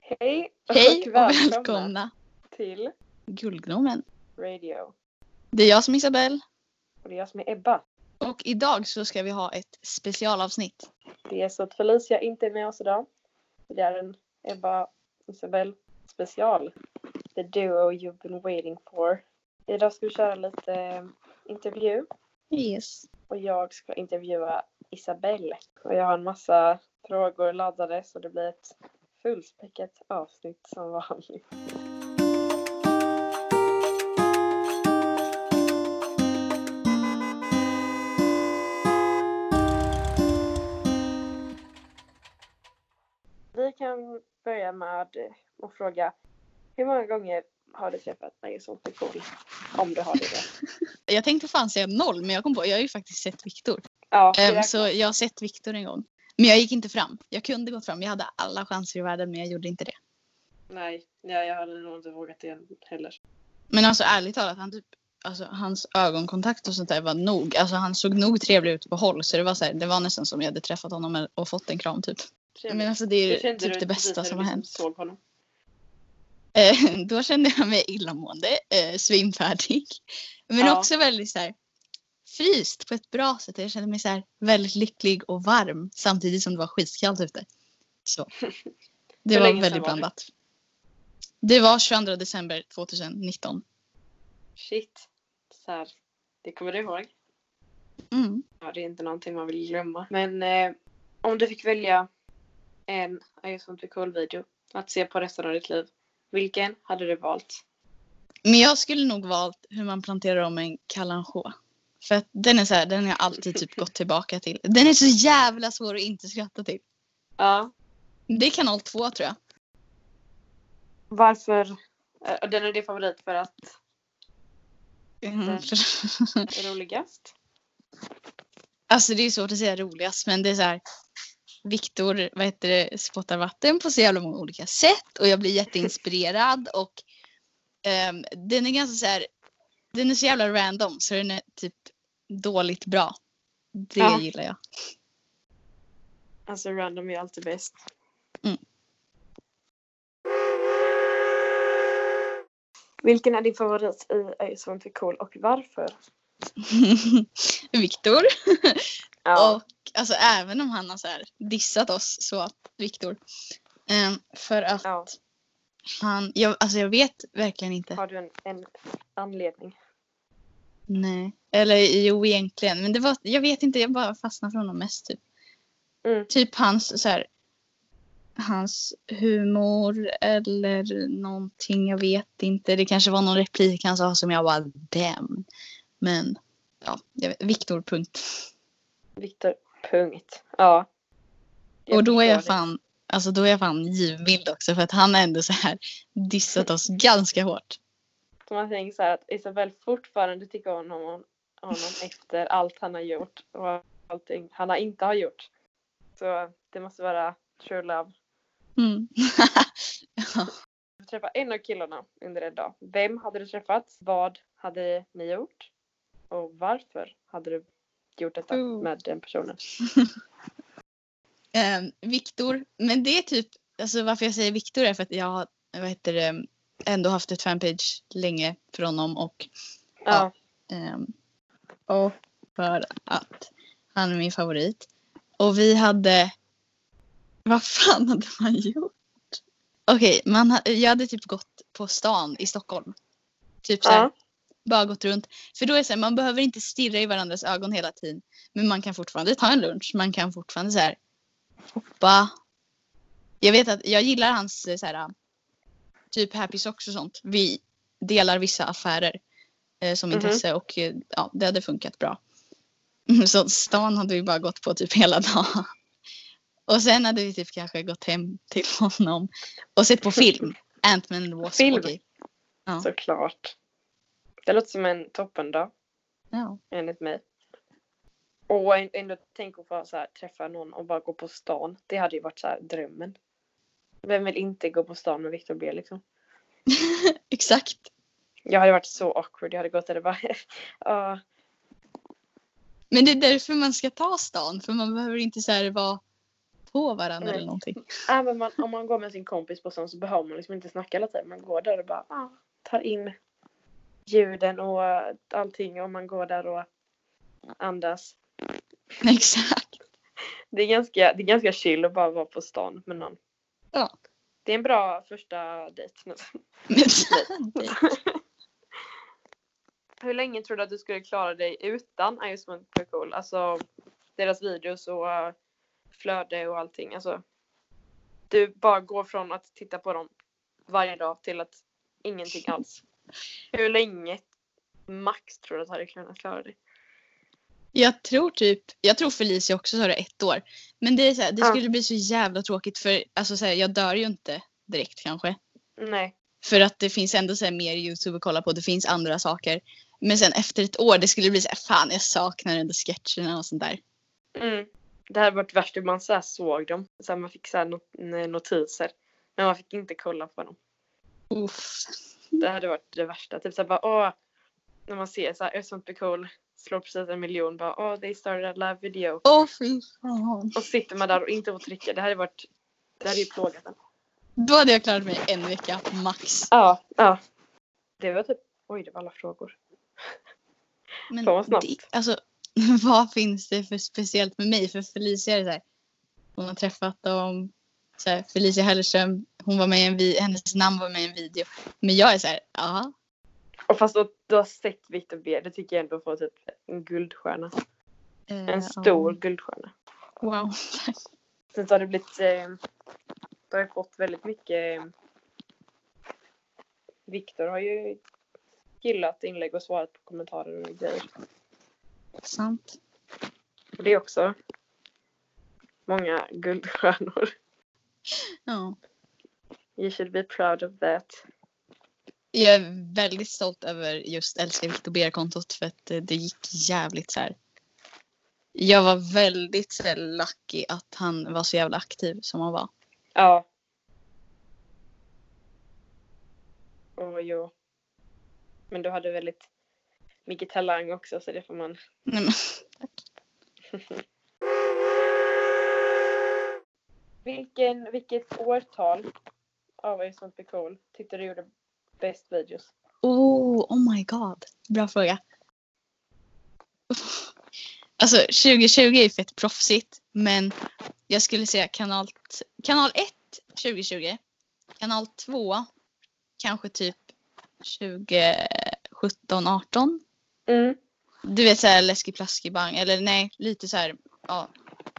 Hej Hej och välkomna till Guldgnomen. Radio. Det är jag som är Isabelle Och det är jag som är Ebba. och idag så ska vi ha ett specialavsnitt. Det är så att Felicia inte är med oss idag. Det är en Ebba Isabel special. The duo you've been waiting for. Idag ska vi köra lite eh, intervju Yes. och jag ska intervjua Isabelle. Och jag har en massa frågor laddade så det blir ett fullspäckat avsnitt som vanligt. Vi kan börja med eh, att fråga hur många gånger har du träffat Magnus Ontikoll? Om du har det. Jag tänkte fan säga noll men jag kom på jag har ju faktiskt sett Viktor. Ja, det Ehm, räknas. så jag har sett Viktor en gång. Men jag gick inte fram. Jag kunde gått fram. Jag hade alla chanser i världen men jag gjorde inte det. Nej, ja, jag hade nog inte vågat det heller. Men alltså ärligt talat han typ Alltså hans ögonkontakt och sånt där var nog, alltså han såg nog trevlig ut på håll så det var så här, det var nästan som jag hade träffat honom och fått en kram typ. Men alltså det är ju typ det bästa som har hänt. Såg honom. Eh, då kände jag mig illamående, eh, svimfärdig. Men Ja. också väldigt så här, fryst på ett bra sätt. Jag kände mig så här, väldigt lycklig och varm samtidigt som det var skitkallt ute. Så. Det Hur var länge sedan väldigt var det? blandat. Det? var 22 december 2019. Shit. Så här, det kommer du ihåg. Mm. Ja, det är inte någonting man vill glömma. Men eh, om du fick välja en I just want to call video att se på resten av ditt liv. Vilken hade du valt? Men jag skulle nog valt hur man planterar om en kalanchoa. För att den är så här, den har jag alltid typ gått tillbaka till. Den är så jävla svår att inte skratta till. Ja. Det är kanal 2 tror jag. Varför? Eh, Den är din favorit för att Mm. det är roligast. Alltså det är svårt att säga roligast men det är så här. Viktor vad heter det, spottar vatten på så jävla många olika sätt och jag blir jätteinspirerad och ehm, den är ganska så här. Den är så jävla random så den är typ dåligt bra. Det Ja. gillar jag. Alltså random är alltid bäst. Mm. Vilken är din favorit i I just want to call och varför? Viktor. Och alltså även om han har så här dissat oss så att Viktor. ehm, för att Ja. han, jag, alltså jag vet verkligen inte. Har du en, en anledning? Nej. Eller jo, egentligen. Men det var, jag vet inte, jag bara fastnade för honom mest. Typ, Mm. typ hans, så här, hans humor eller någonting. Jag vet inte. Det kanske var någon replik han sa som jag bara damn. Men ja, jag vet- Viktor punkt. Viktor, punkt. Ja. Jag Och då är jag förstår fan, alltså då är jag fan givmild också för att han har ändå så här dissat oss ganska hårt. det. Så man tänker så här att Isabel fortfarande tycker om honom, honom efter allt han har gjort och allting han har inte har gjort. Så det måste vara true love. Mm. Du träffa en av killarna under en dag. Vem hade du träffat? Vad hade ni gjort? Och varför hade du gjort detta Oh. med den personen? Eh, Viktor, men det är typ, alltså varför jag säger Viktor är för att jag har, vad heter det, ändå haft ett fanpage länge för honom och, Ja. ehm, och för att han är min favorit. Och vi hade, vad fan hade man gjort? Okej, man ha- jag hade typ gått på stan i Stockholm. Typ såhär, Ja. bara gått runt. För då är det så här, man behöver inte stirra i varandras ögon hela tiden. Men man kan fortfarande ta en lunch. Man kan fortfarande så här hoppa. Jag vet att jag gillar hans eh, så här typ happy socks och sånt. Vi delar vissa affärer eh, som Mhm. intresse och eh, ja, det hade funkat bra. Så stan hade vi bara gått på typ hela dagen. Och sen hade vi typ kanske gått hem till honom och sett på film. Ant-Man and the Wasp. Film. okej. Ja. Såklart. Det låter som en toppendag. Ja. enligt mig. Och ä- ändå tänk att få så här, träffa någon och bara gå på stan. Det hade ju varit så här, drömmen. Vem vill inte gå på stan med Victor B liksom? Exakt. Jag hade varit så awkward. Jag hade gått där och bara... "Ah, ja, Men det är därför man ska ta stan. För man behöver inte så här vara på varandra Nej. eller någonting. Ja, men man, om man går med sin kompis på sån så behöver man liksom inte snacka hela tiden. Man går där och bara ah, tar in ljuden och eh, allting och man går där och andas. Exakt. Det är ganska, det är ganska chill att bara vara på stan med någon. Ja. Det är en bra första dejt. nu. Hur länge tror du att du skulle klara dig utan Iceman Cool? Alltså deras videos och eh, flöde och allting. Alltså, du bara går från att titta på dem varje dag till att ingenting alls. Hur länge max tror du att du hade kunnat klara dig? Jag tror typ, jag tror Felicia också sa det ett år. Men det, är så här, det Ja. skulle bli så jävla tråkigt för alltså, så här, jag dör ju inte direkt kanske. Nej. För att det finns ändå så här, mer YouTube att kolla på, det finns andra saker. Men sen efter ett år det skulle bli så här, fan jag saknar ändå sketcherna och sånt där. Mm. Det hade varit värst om man så här såg dem. Så här, man fick så här not- eh, notiser. Men man fick inte kolla på dem. Uff. Det hade varit det värsta. Typ såhär bara åh. När man ser såhär Ösant Cool slår precis en miljon bara åh they started a live video. Åh fy fan. Och sitter man där och inte får trycka. Det hade varit... Det hade ju plågat en. Då hade jag klarat mig en vecka max. Ja. Ja. Det var typ... Oj, det var alla frågor. Men Fan, vad snabbt. det, alltså, vad finns det för speciellt med mig? För Felicia är det så här, hon har träffat dem. Så här, Felicia Hellström, hon var med i en vi- hennes namn var med i en video. Men jag är så här, ja. Och fast att du har sett Victor B, det tycker jag ändå får typ en guldstjärna. eh, En stor guldstjärna. Ja, wow. Sen så har det blivit... Eh, du har ju fått väldigt mycket... Eh, Victor har ju gillat inlägg och svarat på kommentarer och grejer. Sant. Och det är också många guldstjärnor. Ja. You should be proud of that. Jag är väldigt stolt över just Älskar Viktor Ber-kontot för att eh, det gick jävligt så här. Jag var väldigt så här, lucky att han var så jävla aktiv som han var. Ja. Och jo. Men du hade väldigt mycket talang också så det får man. Nej, men, Vilken, vilket årtal av Ice Not Be Cool tyckte du gjorde bäst videos? Oh, oh my god. Bra fråga. Uff. Alltså 2020 är ju fett proffsigt. Men jag skulle säga kanal, t- kanal 1 2020. Kanal 2 kanske typ 2017, 18. Mm. Du vet såhär läskig plaskig bang. Eller nej, lite så här. Ja.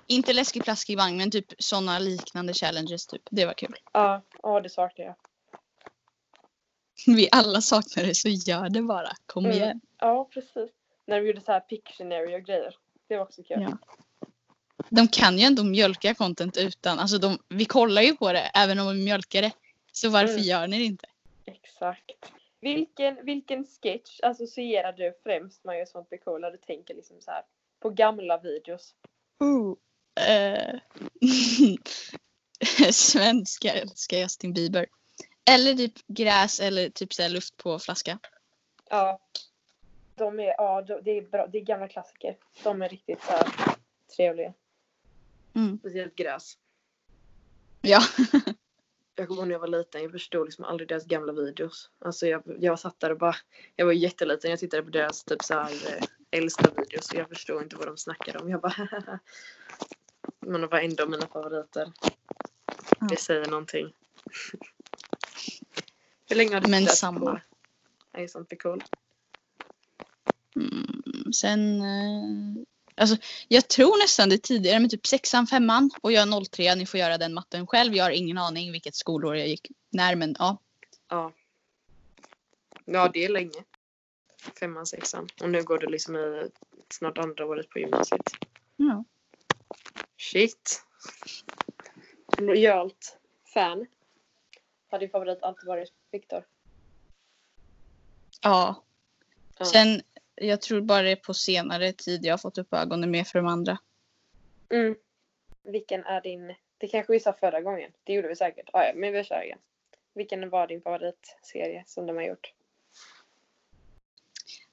Inte läskig plaskig bang men typ sådana liknande challenges typ. Det var kul. Ja, ja det saknar jag. Vi alla saknar det så gör det bara. Kom Mm. igen. Ja, precis. När vi gjorde så här Pictionary och grejer. Det var också kul. Ja. de kan ju ändå mjölka content utan, alltså de, vi kollar ju på det även om vi mjölkar det. Så varför Mm. gör ni det inte? Exakt. Vilken, vilken sketch associerar du främst med Ice Not Be Cool när du tänker liksom så här på gamla videos? Eh, Svenskar älskar Justin Bieber. Eller typ gräs eller typ så här luft på flaska. Ja. De är, ja, de, det är bra. Det är gamla klassiker. De är riktigt så här, trevliga. Mm. Speciellt gräs. Ja. Jag kommer ihåg när jag var liten, jag förstod liksom aldrig deras gamla videos. Alltså jag, jag satt där och bara, jag var jätteliten, jag tittade på deras typ så här, eh, äldsta videos och jag förstod inte vad de snackade om. Jag bara Men de var ändå mina favoriter. Det Ja. säger någonting. Hur länge har du Men tittat samma. på Ice on the Cool? Mm, sen, eh, alltså jag tror nästan det är tidigare men typ sexan, femman och jag är 03, ni får göra den matten själv. Jag har ingen aning vilket skolår jag gick när men ja. Ja. Ja, det är länge. Femman, sexan. Och nu går du liksom i snart andra året på gymnasiet. ja. Shit. En lojalt fan. Har din favorit alltid varit Viktor? ja. Ja. Sen, jag tror bara det är på senare tid jag har fått upp ögonen mer för de andra. Mm. Vilken är din... Det kanske vi sa förra gången. Det gjorde vi säkert. Ah, ja, men vi kör igen. Vilken var din favoritserie som de har gjort?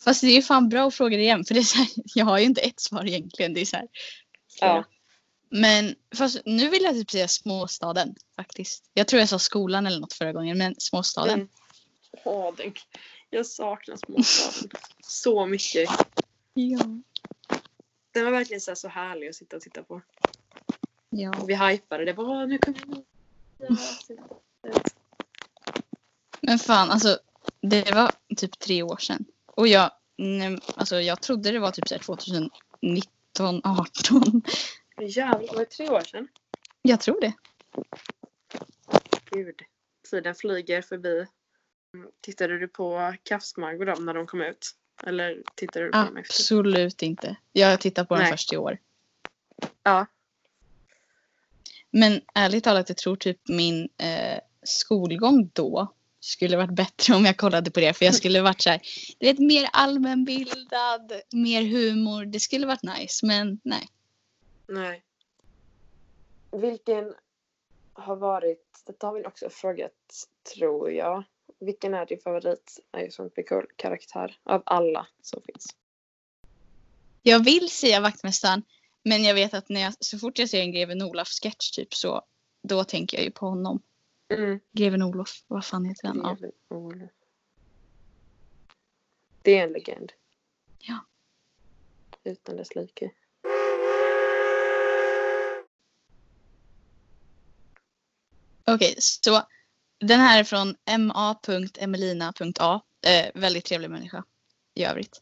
Fast det är ju fan bra att fråga det igen för det är så här, jag har ju inte ett svar egentligen. Det är så här, Ja. Men fast nu vill jag typ säga småstaden faktiskt. Jag tror jag sa skolan eller något förra gången, men småstaden. Mm. Åh, den, jag saknar småstaden så mycket. Ja. Den var verkligen så, här så härlig att sitta och titta på. ja. Och vi hypade det. Bara, nu kommer det nya avsnittet." Men fan, alltså det var typ tre år sedan. Och jag, nej, alltså, jag trodde det var typ så här 2019, 18. Jävlar, var det tre år sedan? Jag tror det. Gud. Tiden flyger förbi. Mm, Tittade du på Kafsmag och dem när de kom ut? Eller tittade du på dem efter? Absolut inte. Jag tittar på den Nej. först i år. Ja. Men ärligt talat, jag tror typ min eh, skolgång då skulle varit bättre om jag kollade på det. För jag skulle varit så här, du vet mer allmänbildad, mer humor. Det skulle varit nice, men nej. Nej. Vilken har varit, detta har vi också frågat tror jag. Vilken är din favorit Arizona karaktär av alla som finns? Jag vill säga vaktmästaren, men jag vet att när jag, så fort jag ser en Greven Olof-sketch typ så, då tänker jag ju på honom. Mm. Greven Olof, vad fan heter han? Ja. Det är en legend. Ja. Utan dess like. Okej, så den här är från ma.emelina.a. Eh, väldigt trevlig människa i övrigt.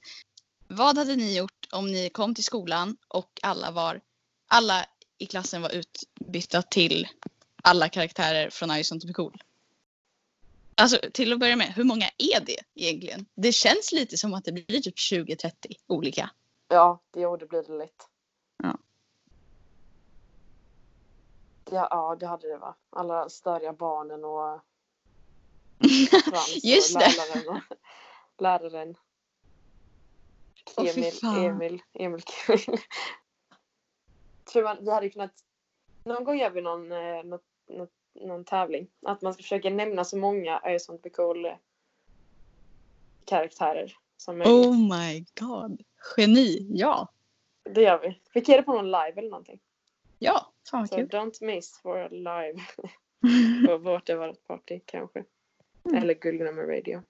Vad hade ni gjort om ni kom till skolan och alla var alla i klassen var utbytta till alla karaktärer från I som cool? Alltså till att börja med, hur många är det egentligen? Det känns lite som att det blir typ 20-30 olika. Ja, det, jo, det blir det lätt. Ja. Ja, ja, det hade det va. Alla störiga barnen och Frans Just och det. läraren. Och läraren. Åh, fy Emil, fan. Emil, Emil, Emil. Tror man, vi hade kunnat... Någon gång gör vi någon, eh, något, något, någon tävling. Att man ska försöka nämna så många Öresund cool eh, karaktärer som möjligt. Oh my god. Geni, ja. Det gör vi. Skicka det på någon live eller någonting. Ja, fan vad Så kul. don't miss vår live på vårt det var ett party kanske. Mm. Eller Guldgrammy radio.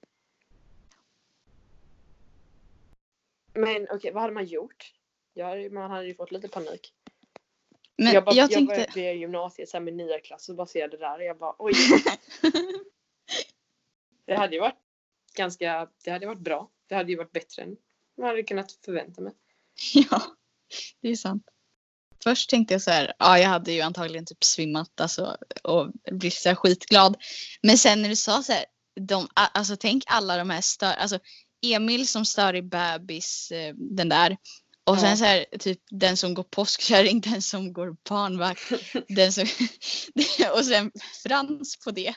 Men okej, vad hade man gjort? Jag hade, man hade ju fått lite panik. Men jag, bara, jag tänkte... jag började i gymnasiet så här med nya klass och bara ser det där och jag bara oj. det hade ju varit ganska, det hade varit bra. Det hade ju varit bättre än man hade kunnat förvänta mig. Ja, det är sant. Först tänkte jag så här, ja jag hade ju antagligen typ svimmat alltså, och blivit så här skitglad. Men sen när du sa så här, de, a- alltså tänk alla de här stör, alltså Emil som stör i bebis, eh, den där. Och sen Ja. så här, typ den som går påskkärring, den som går barnvakt, den som... och sen Frans på det.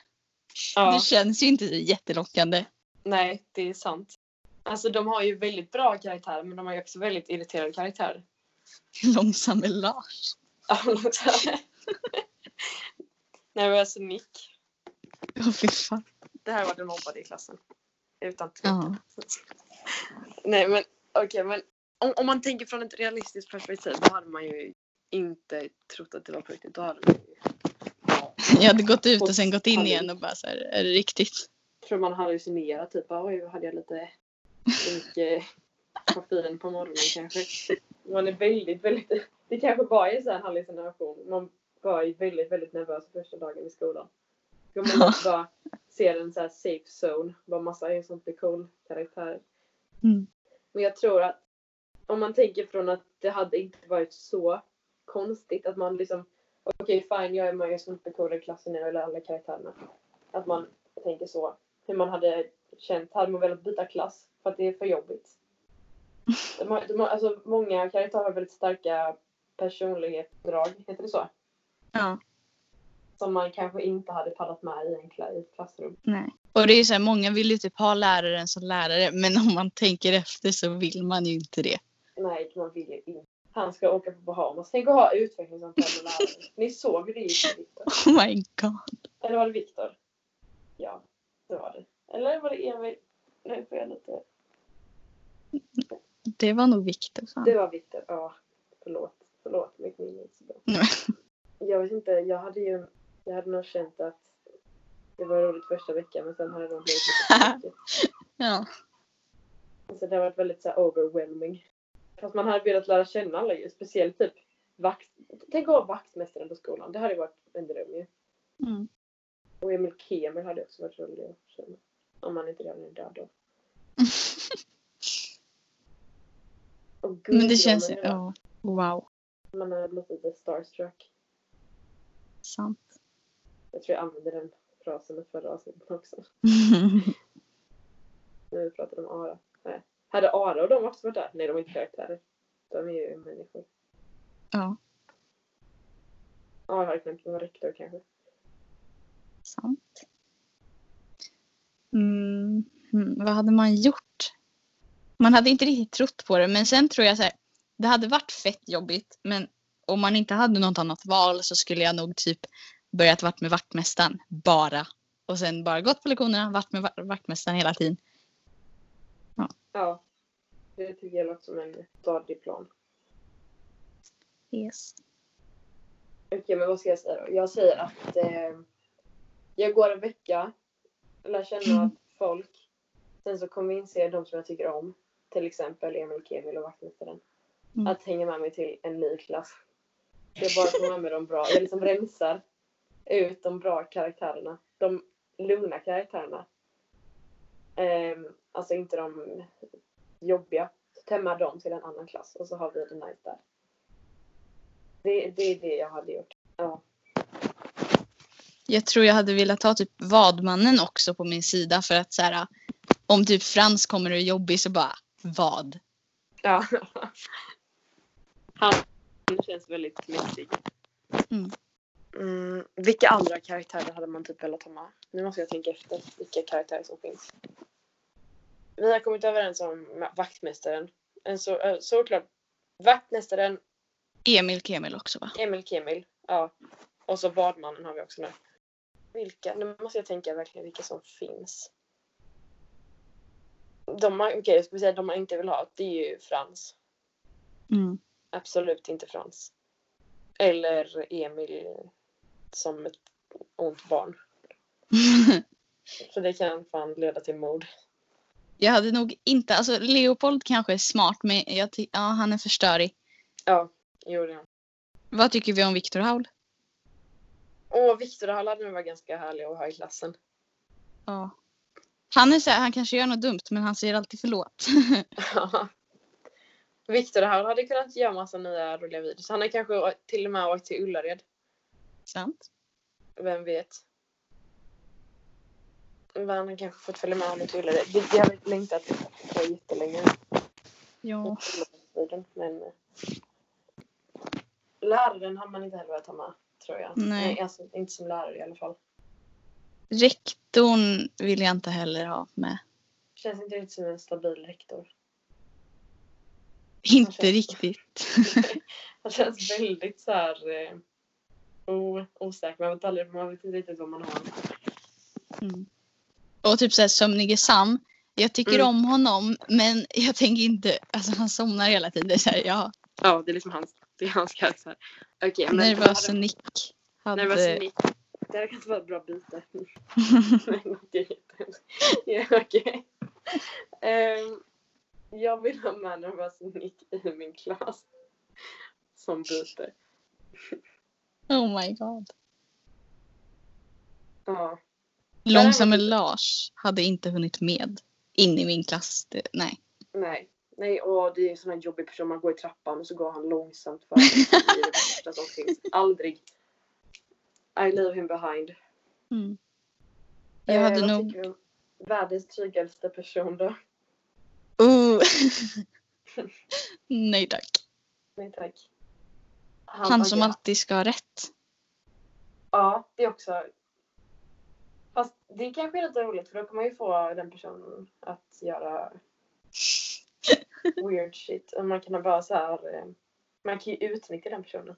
Ja. Det känns ju inte så jättelockande. Nej, det är sant. Alltså de har ju väldigt bra karaktärer men de har ju också väldigt irriterande karaktärer. Långsam Lars. Ja, men så här. Alltså. Nej men alltså Nick. Åh fy fan. Det här var den mobbade i klassen. Utan tvekan. Ja. Nej men okej men om, om man tänker från ett realistiskt perspektiv då hade man ju inte trott att det var på riktigt. Då hade man ju... Jag hade gått ut och sen gått in igen och bara så här, är det riktigt? Jag tror man hallucinerat typ bara, oj hade jag lite för mycket koffein på morgonen kanske. Man är väldigt väldigt det kanske bara är så här hallucination. Man var ju väldigt väldigt nervös första dagen i skolan. Ska man Ja. bara se en så här safe zone. Bara massa är sånt blir cool karaktär. Mm. Men jag tror att om man tänker från att det hade inte varit så konstigt att man liksom okej fine jag är med i sånt blir cool i klassen nu eller alla karaktärerna. Att man tänker så. Hur man hade känt. Hade man velat byta klass för att det är för jobbigt? De har, de har, alltså, många karaktärer har väldigt starka personlighetsdrag, heter det så? Ja. Som man kanske inte hade pallat med i, en kla- i ett klassrum. Nej. Och det är ju så här, många vill ju typ ha läraren som lärare men om man tänker efter så vill man ju inte det. Nej, man vill ju inte. Han ska åka på Bahamas. Tänk att ha utvecklingssamtal med läraren. Ni såg hur det gick för Viktor. Oh my god. Eller var det Viktor? Ja, det var det. Eller var det Emil? Nu får jag lite... Det var nog Viktor. Fan. Det var Viktor. Ja, förlåt. Förlåt, mitt minne är inte så bra. Nej. Jag vet inte, jag hade ju... Jag hade nog känt att det var roligt första veckan men sen hade det nog blivit lite för mycket. Ja. Alltså det har varit väldigt så här overwhelming. Fast man hade velat lära känna alla ju. Speciellt typ vakt... Tänk att vara vaktmästaren på skolan. Det hade ju varit en dröm ju. Mm. Och Emil Kemel hade också varit rolig att känna. Om han inte redan är död då. Och Men det känns ju... Guldgranen, Ja. Wow. Man hade blivit lite starstruck. Sant. Jag tror jag använde den frasen i förra avsnittet också. När vi pratade om Ara. Nej. Hade Ara och de också varit där? Nej, de är inte karaktärer. De är ju människor. ja. Ara hade kunnat vara rektor kanske. Sant. Mm, hmm, vad hade man gjort? Man hade inte riktigt trott på det, men sen tror jag så här. Det hade varit fett jobbigt, men om man inte hade något annat val så skulle jag nog typ börjat varit med vaktmästaren bara. Och sen bara gått på lektionerna, varit med va- vaktmästaren hela tiden. Ja. Det tycker jag låter som en stadig plan. Yes. Okej, men vad ska jag säga då? Jag säger att eh, jag går en vecka, lär känna folk. Sen så kommer jag inse de som jag tycker om. Till exempel Emil Kemil och vaktmästaren. Mm. Att hänga med mig till en ny klass. Jag bara kommer med mig de bra. Jag liksom rensar ut de bra karaktärerna. De lugna karaktärerna. Ehm, alltså inte de jobbiga. Så Tämma dem till en annan klass och så har vi det nice där. Det, det är det jag hade gjort. Ja. Jag tror jag hade velat ha typ vadmannen också på min sida för att så här. Om typ Frans kommer och är jobbig så bara vad? Ja. Han känns väldigt mäktig. Mm. Mm, vilka andra karaktärer hade man typ velat ha med? Nu måste jag tänka efter vilka karaktärer som finns. Vi har kommit överens om ma- vaktmästaren. En så, eh, såklart vaktmästaren, Emil Kemil också va? Emil Kemil. Ja. Och så vadmannen har vi också nu. Vilka? Nu måste jag tänka verkligen vilka som finns. De man, okej, jag skulle säga de man inte vill ha, det är ju Frans. Mm. Absolut inte Frans. Eller Emil som ett ont barn. För det kan fan leda till mord. Jag hade nog inte, alltså Leopold kanske är smart men jag ty- ja, han är förstörig. Ja, jo det är han. Vad tycker vi om Viktor Haul? Och Viktor och Hall hade nog varit ganska härlig att ha i klassen. Ja. Han är så här, han kanske gör något dumt men han säger alltid förlåt. Viktor och Hall hade kunnat göra massa nya roliga videos. Han har kanske å- till och med åkt till Ullared. Sant. Vem vet? Men han har kanske fått följa med honom till Ullared. Det jag har längtat efter jättelänge. Ja. Ullared-videon, Men... eh, Läraren har man inte heller velat ha med, tror jag. Nej. alltså, inte som lärare i alla fall. Rektorn vill jag inte heller ha med. Känns inte riktigt som en stabil rektor. Inte Kanske. riktigt. Han känns väldigt så här eh, o- osäker. Man vet, aldrig, man vet inte riktigt vad man har. Mm. Och typ så här, sömnige Sam. Jag tycker Mm. om honom men jag tänker inte, alltså han somnar hela tiden. Det är Så här, ja. Ja, det är liksom hans, det är hans karaktär. Okej, men... Nervös Nick. Hade... Nervös Nick. Det här kan inte vara ett bra byte. Nej, okej. ja, okej. Ehm, jag vill ha med nervös Nick i min klass. Som byte. Oh my god. Ja. Långsamme Lars hade inte hunnit med in i min klass. Det, nej. Nej. Nej, och det är en sån här jobbig person. Man går i trappan och så går han långsamt för det är det värsta som finns. Aldrig. I leave him behind. Mm. Eh, Jag hade vad nog... tycker du om Världens tryggaste person då? Oh. nej tack. Nej tack. Han, som agerar- alltid ska ha rätt. Ja, det är också... Fast det kanske är lite roligt för då kan man ju få den personen att göra weird shit. Och man kan bara så här... eh, Man kan ju utnyttja den personen.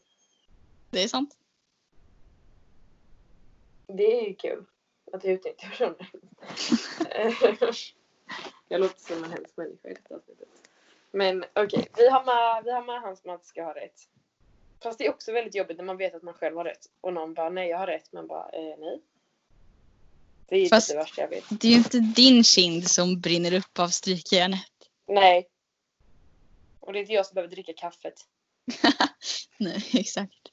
Det är sant. Det är ju kul att jag utnyttjar personer. jag låter som en hemsk människa i detta avsnittet. Men okej, vi, har med- vi har med han som alltid ska ha rätt. Fast det är också väldigt jobbigt när man vet att man själv har rätt och någon bara nej jag har rätt. Man bara eh, nej. Det är ju Fast- det värsta jag vet. Det är ju inte din kind som brinner upp av strykjärnet. Nej. Och det är inte jag som behöver dricka kaffet. Nej, exakt.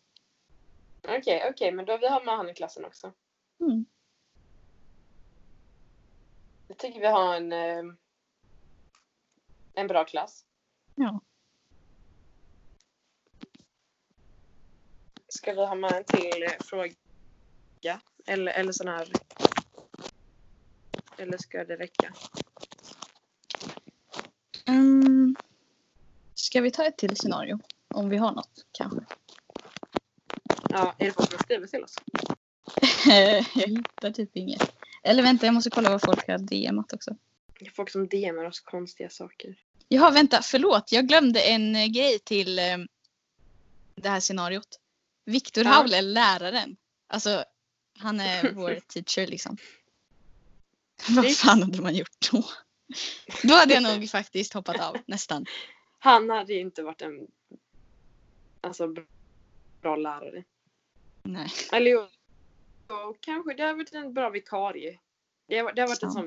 Okej, okej, men då vi har med han i klassen också. Mm. Jag tycker vi har en, eh, en bra klass. Ja. Ska vi ha med en till eh, fråga? Eller, eller sån här... Eller ska det räcka? Mm. Ska vi ta ett till scenario? Om vi har något kanske. Ja, är det folk som skriver till oss? jag hittar typ inget. Eller vänta, jag måste kolla vad folk har DMat också. Det är folk som DMar oss konstiga saker. Jaha, vänta, förlåt. Jag glömde en eh, grej till eh, det här scenariot. Viktor Ja. Haul är läraren. Alltså, han är vår teacher liksom. Vad Visst. fan hade man gjort då? Då hade jag nog faktiskt hoppat av, nästan. Han hade ju inte varit en alltså, bra lärare. Nej. Eller jo, jo, kanske det har varit en bra vikarie. Det har, det har varit en Ja. sån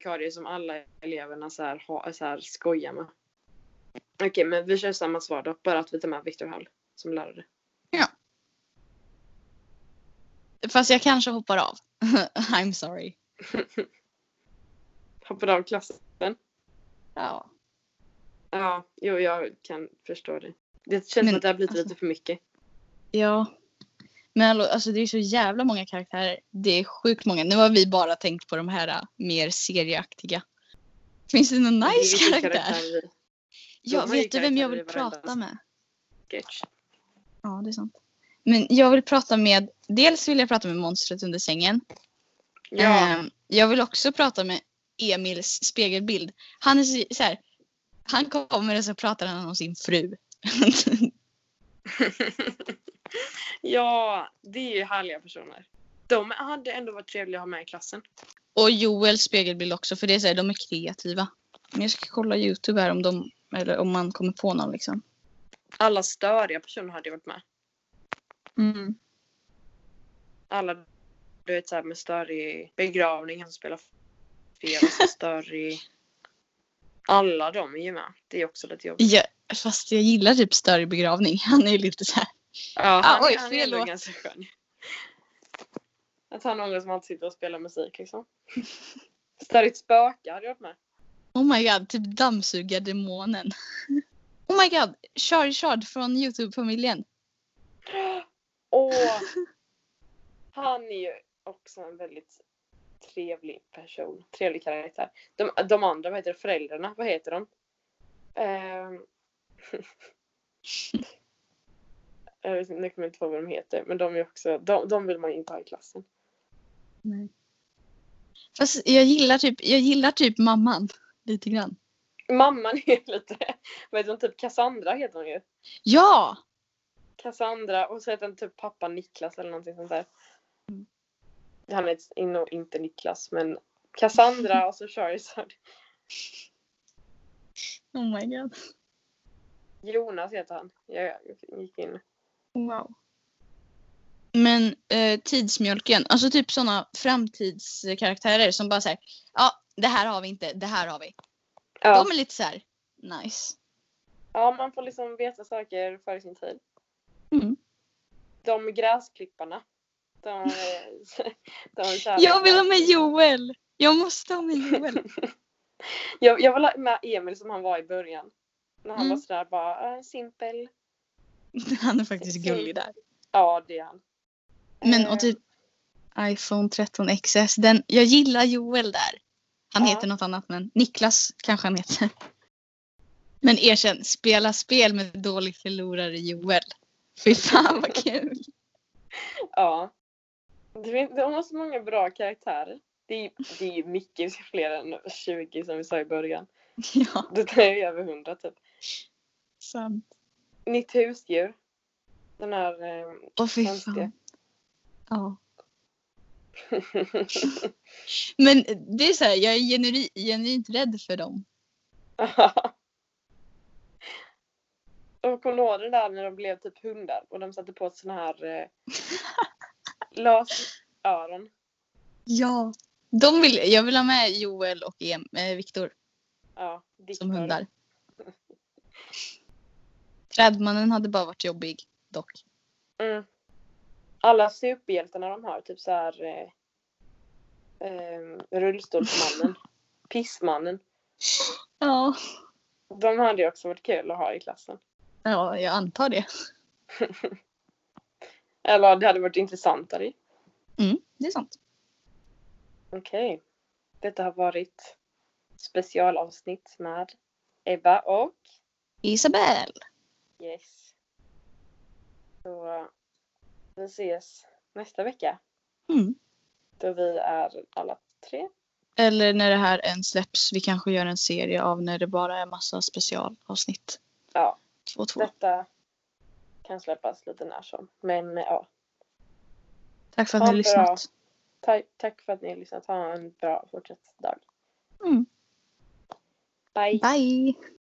vikarie som alla eleverna så här, ha, så här skojar med. Okej, men vi kör samma svar då. Bara att vi tar med Viktor Hall som lärare. Fast jag kanske hoppar av. I'm sorry. Hoppade av klassen. Ja. Ja, jo, jag kan förstå det. Det känns Men, som att det har blivit alltså- lite för mycket. Ja. Men hallå, alltså det är så jävla många karaktärer. Det är sjukt många. Nu har vi bara tänkt på de här eh, mer serieaktiga. Finns det någon Det är nice vilken karaktär? i Ja, De har ju vet du vem jag karaktärer i vill varenda prata med? sketch. Ja, det är sant. Men jag vill prata med, dels vill jag prata med monstret under sängen. Ja, Ehm, Jag vill också prata med Emils spegelbild. Han är så, så här, han kommer och så pratar han om sin fru. ja, det är ju härliga personer. De hade ändå varit trevliga att ha med i klassen. och Joels spegelbild också, för det är så här, de är kreativa. Men jag ska kolla YouTube här om de, eller om man kommer på någon liksom. Alla störiga personer hade ju varit med. Mm. alla du vet såhär med större begravning, han som spelar fel och så större alla de är ju med. Det är också lite jobbigt. Ja, fast jag gillar typ större begravning. Han är ju lite så här. Ja, han, Ah, oj, han fel är ändå låt. ganska skön. Att han någon som alltid sitter och spelar musik liksom. Störigt spöke hade jag varit med. Oh my god, typ dammsugardemonen. Oh my god, Charlie Chard från Youtube-familjen. Åh! Han är ju också en väldigt trevlig person. Trevlig karaktär. De, de andra, vad heter det, föräldrarna, vad heter de? Ehm. jag vet inte, nu kommer jag inte på vad de heter. Men de är också, de, de vill man ju inte ha i klassen. Fast jag gillar typ, jag gillar typ mamman. Lite grann. Mamman är ju lite, vad heter hon, typ Cassandra heter hon ju. Ja! Cassandra och så heter han typ pappa Niklas eller någonting sånt där. Mm. Han heter nog inte Niklas men Cassandra och så Charizard. Oh my god. Jonas heter han. Jag gick in. Wow. Men eh, tidsmjölken, alltså typ sådana framtidskaraktärer som bara säger ja det här har vi inte, det här har vi. Ja. De är lite så här nice. ja, man får liksom veta saker före sin tid. Mm. De gräsklipparna. De, de är så här- Jag vill ha med Joel! Jag måste ha med Joel. jag, jag vill ha med Emil som han var i början. När han Mm. var sådär bara äh, simpel. Han är faktiskt gullig där. Ja, det är han. Men Eh, och typ iPhone 13 XS. Den, jag gillar Joel där. Han Ja. heter något annat men Niklas kanske han heter. Men erkänn, spela spel med dålig förlorare Joel. Fy fan vad kul. Ja. Det finns, de har så många bra karaktärer. Det är, det är ju mycket fler än 20 som vi sa i början. ja, Det är ju över 100 typ. sant. Nytt husdjur. Den här eh, Åh fy konstiga. fan. Ja. Men det är så här, jag är generi, genuint rädd för dem. Och kommer du ihåg det där när de blev typ hundar och de satte på såna här eh, glasöron? Ja. De vill, jag vill ha med Joel och em, eh, Viktor Ja, Victor. som hundar. Trädmannen hade bara varit jobbig dock. Mm. Alla superhjältarna de har, typ så här eh, eh, rullstolsmannen, pissmannen. Ja. De hade ju också varit kul att ha i klassen. Ja, jag antar det. Eller det hade varit intressantare. Mm, det är sant. Okej. Detta har varit specialavsnitt med Ebba och Isabel. Yes. Så eh, vi ses nästa vecka Mm. då vi är alla tre. Eller när det här än släpps. Vi kanske gör en serie av när det bara är massa specialavsnitt. Ja. Två och två. Detta kan släppas lite när som. Men eh, ja, Tack för att Ha ni bra. lyssnat. Ta- tack för att ni har lyssnat. Ha en bra fortsatt dag. Mm. Bye. Bye!